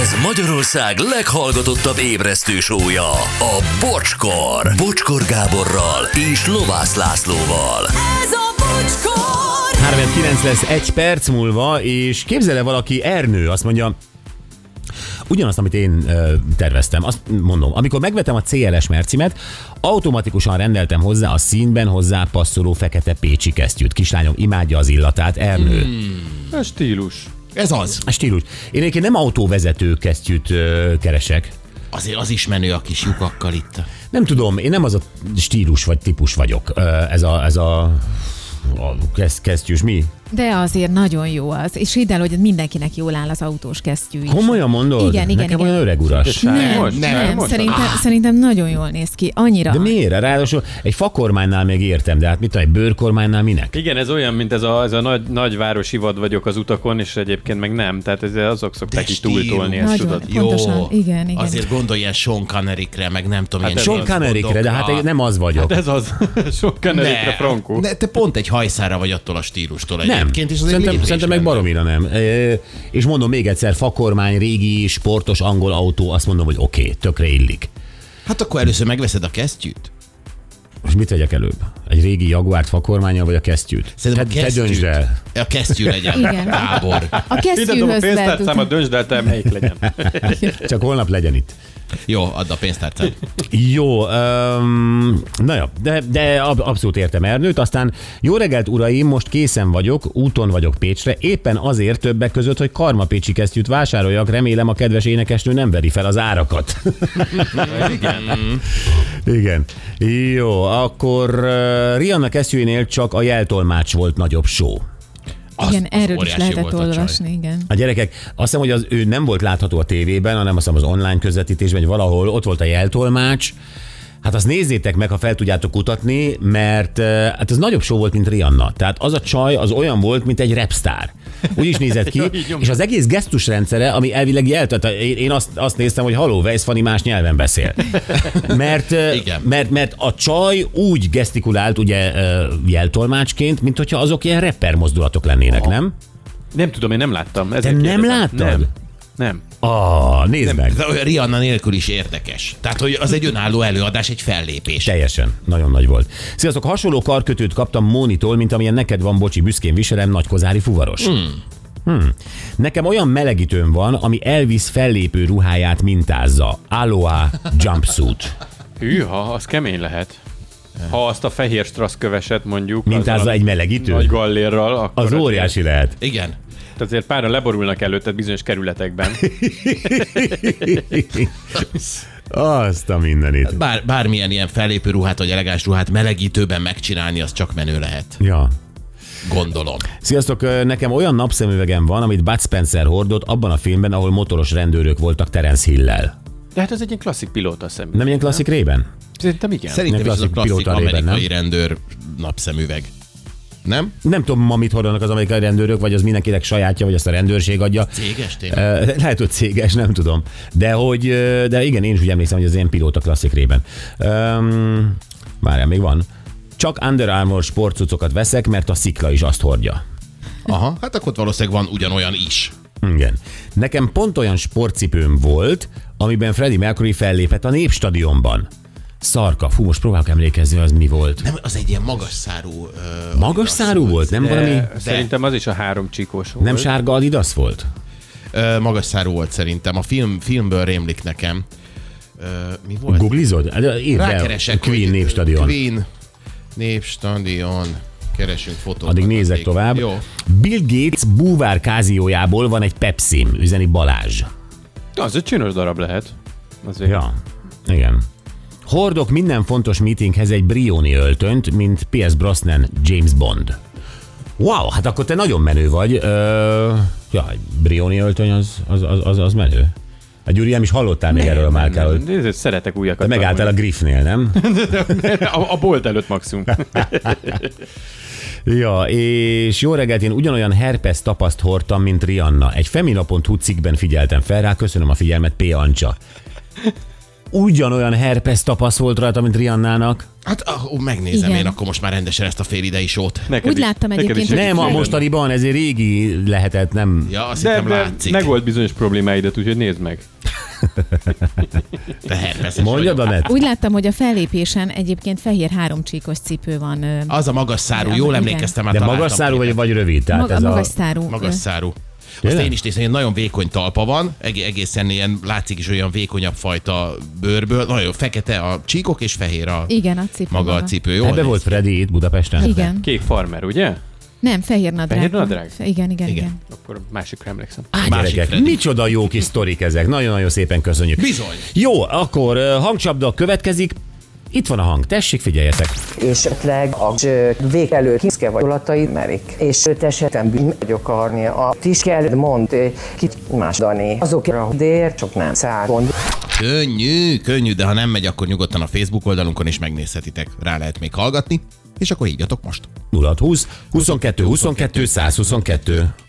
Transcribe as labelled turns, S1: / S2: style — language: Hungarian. S1: Ez Magyarország leghallgatottabb ébresztő sója, a Bocskor. Bocskor Gáborral és Lovász Lászlóval.
S2: Ez a bocskor!
S3: 39 lesz egy perc múlva, és képzele valaki Ernő, azt mondja, Ugyanazt, amit én ö, terveztem, azt mondom, amikor megvetem a CLS mercimet, automatikusan rendeltem hozzá a színben hozzá passzoló fekete pécsi kesztyűt. Kislányom imádja az illatát, Ernő. Hmm.
S4: Ez stílus.
S5: Ez az.
S3: Stílus. Én egyébként nem autóvezető kesztyűt ö, keresek.
S5: Azért az is menő a kis lyukakkal itt.
S3: Nem tudom, én nem az a stílus vagy típus vagyok. Ö, ez a, ez a, a kesz- kesztyűs, mi?
S6: De azért nagyon jó az. És hidd el, hogy mindenkinek jól áll az autós kesztyű is.
S3: Komolyan mondod?
S6: Igen, igen,
S3: Nekem
S6: igen.
S3: olyan öreg uras.
S6: Nem,
S4: Most?
S6: nem,
S4: Most?
S6: szerintem,
S5: Ah.
S6: szerintem nagyon jól néz ki. Annyira.
S3: De miért? Ráadásul egy fakormánynál még értem, de hát mit tudom, egy bőrkormánynál minek?
S4: Igen, ez olyan, mint ez a, ez a nagy, nagyvárosi vad vagyok az utakon, és egyébként meg nem. Tehát ez, azok szokták így
S5: stílus.
S4: túltolni ezt,
S6: Nagyon.
S4: tudod.
S6: Pontosan, igen, igen.
S5: Azért gondolj ilyen Sean Connery-kre, meg nem tudom, ilyen
S3: Sean
S5: James
S3: Connery-kre, de hát
S5: Bondokra.
S3: én nem az vagyok.
S4: Ez az. Sok kenerékre, Frankó.
S5: ne, te pont egy hajszára vagy attól a stílustól
S3: nem.
S5: egyébként, és az egy
S3: Szerintem,
S5: lépés
S3: szerintem meg
S5: lenne.
S3: baromira nem. E, és mondom még egyszer, fakormány, régi, sportos angol autó, azt mondom, hogy oké, okay, tökre illik.
S5: Hát akkor először megveszed a kesztyűt.
S3: Most mit vegyek előbb? Egy régi Jaguárt fakormánya, vagy a kesztyűt?
S5: Szerintem a
S3: te, te
S5: kesztyűt.
S3: döntsd el.
S5: A kesztyű legyen
S6: Igen.
S5: tábor.
S6: A
S4: Ide dob a
S6: kesztyűhöz lehet
S4: pénztárcámat, döntsd el, te melyik legyen.
S3: Csak holnap legyen itt.
S5: Jó, add a pénztárcát.
S3: Jó, um, na jó, de, de ab, abszolút értem Ernőt. Aztán jó reggelt, uraim, most készen vagyok, úton vagyok Pécsre, éppen azért többek között, hogy karmapécsi kesztyűt vásároljak, remélem a kedves énekesnő nem veri fel az árakat. Igen. Jó, akkor uh, Rihanna kesztyűnél csak a jeltolmács volt nagyobb show.
S5: Az-
S6: igen,
S5: az
S6: erről is
S5: óriási
S6: lehetett
S5: volt a csaj.
S6: olvasni, igen.
S3: A gyerekek, azt hiszem, hogy az ő nem volt látható a tévében, hanem azt hiszem az online közvetítésben, vagy valahol ott volt a jeltolmács. Hát azt nézzétek meg, ha fel tudjátok kutatni, mert eh, hát ez nagyobb show volt, mint Rihanna. Tehát az a csaj az olyan volt, mint egy repstar. Úgy is nézett ki, és az egész gesztusrendszere, ami elvileg jeltett, én én azt, azt néztem, hogy haló, Weiss Fanny más nyelven beszél. Mert, eh,
S5: Igen.
S3: mert, mert a csaj úgy gesztikulált ugye eh, jeltolmácsként, mint hogyha azok ilyen rapper mozdulatok lennének, nem?
S4: Nem tudom, én nem láttam.
S3: Te
S4: ezért
S3: nem
S4: kérdezem.
S3: láttad?
S4: Nem. Nem.
S3: Ah, nézd meg!
S5: De olyan Rihanna nélkül is érdekes. Tehát, hogy az egy önálló előadás, egy fellépés.
S3: Teljesen. Nagyon nagy volt. Sziasztok, hasonló karkötőt kaptam Mónitól, mint amilyen neked van, bocsi, büszkén viselem, nagykozári fuvaros. Hmm. Hmm. Nekem olyan melegítőm van, ami Elvis fellépő ruháját mintázza. Aloha jumpsuit.
S4: Hűha, az kemény lehet. Ha azt a fehér strass köveset mondjuk.
S3: Mintázza
S4: azzal a
S3: egy melegítő?
S4: Nagy gallérral, akkor
S3: Az
S4: azért-
S3: óriási lehet.
S5: Igen.
S4: Azért páran leborulnak előtted bizonyos kerületekben.
S3: Azt a mindenit.
S5: Bár, bármilyen ilyen fellépő ruhát, vagy elegáns ruhát melegítőben megcsinálni, az csak menő lehet.
S3: Ja.
S5: Gondolom.
S3: Sziasztok, ö, nekem olyan napszemüvegem van, amit Bud Spencer hordott abban a filmben, ahol motoros rendőrök voltak Terence Hillel.
S4: De hát az egy ilyen klasszik pilóta szemű.
S3: Nem ilyen klasszik rében?
S4: Szerintem igen.
S5: Szerintem is ez a
S3: klasszik
S5: klasszik
S3: pilóta réven,
S5: amerikai
S3: nem?
S5: rendőr napszemüveg. Nem?
S3: Nem tudom ma mit hordanak az amerikai rendőrök, vagy az mindenkinek sajátja, vagy azt a rendőrség adja.
S5: Céges tényleg?
S3: Ö, Lehet, hogy céges, nem tudom. De hogy, ö, de igen, én is úgy emlékszem, hogy az én pilóta klasszik rében. Um, várjál, még van. Csak Under Armour sportcucokat veszek, mert a szikla is azt hordja.
S5: Aha, hát akkor ott valószínűleg van ugyanolyan is.
S3: Igen. Nekem pont olyan sportcipőm volt, amiben Freddie Mercury fellépett a Népstadionban. Szarka. Fú, most próbálok emlékezni, az mi volt.
S5: Nem, az egy ilyen magas szárú... Ö,
S3: Magas szárú volt? Nem valami...
S4: De Szerintem az is a három csíkos volt.
S3: Nem sárga Adidas volt?
S5: ö, magas szárú volt szerintem. A film, filmből rémlik nekem. Ö, mi volt?
S3: Googlizod? Hát, Írd be,
S5: Rákeresek.
S3: Queen
S5: hogy-
S3: Népstadion.
S5: Queen Népstadion. Keresünk fotókat.
S3: Addig nézek
S5: addig.
S3: tovább.
S5: Jó.
S3: Bill Gates búvár káziójából van egy pepsim, üzeni Balázs.
S4: Az egy csinos darab lehet. Azért.
S3: Ja, igen. Hordok minden fontos meetinghez egy Brioni öltönyt, mint P.S. Brosnan James Bond. Wow, hát akkor te nagyon menő vagy. Ö, ja, egy Brioni öltöny az, az, az, az, az menő. A Gyuri, nem is hallottál még erről a márkáról.
S4: Nem, Nézd, szeretek újakat.
S3: Te megálltál a Griffnél, nem?
S4: a... a bolt előtt maximum.
S3: Ja, és jó reggelt, én ugyanolyan herpes tapaszt hordtam, mint Rihanna. Egy femina.hu cikkben figyeltem fel rá, köszönöm a figyelmet, P. Ancsa. Ugyanolyan herpes tapasz volt rajta, mint Rihannának.
S5: Hát ah, ó, megnézem
S6: Igen.
S5: én akkor most már rendesen ezt a félidei sót.
S4: Neked
S6: Úgy láttam
S4: neked
S6: egyébként,
S4: is
S6: hogy-
S3: Nem, a
S4: együtt félre.
S3: mostaniban ez egy régi lehetett, nem.
S5: Ja, azt
S4: De,
S5: hittem
S4: de
S5: látszik.
S4: megold bizonyos problémáidat, úgyhogy nézd meg.
S5: Te herpeszes
S3: Mondjad,
S5: vagy.
S3: Anett?
S6: Úgy láttam, hogy a fellépésen egyébként fehér háromcsíkos cipő van. ö,
S5: Az a magas szárú,
S6: Ja,
S5: jól
S6: igen.
S5: emlékeztem, már
S3: De
S5: találtam
S3: magas szárú
S5: ki.
S3: vagy, vagy rövid? Tehát
S6: mag-
S3: ez
S6: magas
S3: a...
S6: szárú.
S5: hát Magas
S6: ö,
S5: szárú. Azt
S3: Tényleg?
S5: én is néztem, hogy nagyon vékony talpa van, eg- egészen ilyen, látszik is olyan vékonyabb fajta bőrből, nagyon fekete a csíkok és fehér a
S6: Igen, a cipő.
S5: maga a cipő, jó?
S3: Ebbe volt Freddy itt Budapesten?
S6: Igen.
S4: Kék farmer, ugye?
S6: Nem, fehér nadrág.
S4: Fehér nadrág?
S6: Fe- Igen, igen,
S5: Igen.
S6: igen.
S4: Akkor másikra emlékszem.
S3: Á,
S5: Másik
S3: gyerekek,
S5: Freddy.
S3: micsoda jó kis sztorik ezek. Nagyon-nagyon szépen köszönjük.
S5: Bizony.
S3: Jó, akkor ö, hangcsapda következik. Itt van a hang, tessék, figyeljetek.
S7: esetleg a zső vég előtt kiszke vagyolatai merik. És őt esetem bűn vagyok arni a tiskel, mond, eh, kit más Dani. Azokra a dér, csak nem szágon.
S5: Könnyű, könnyű, de ha nem megy, akkor nyugodtan a Facebook oldalunkon is megnézhetitek. Rá lehet még hallgatni, és akkor higgyatok most.
S3: 0620 22 22 122.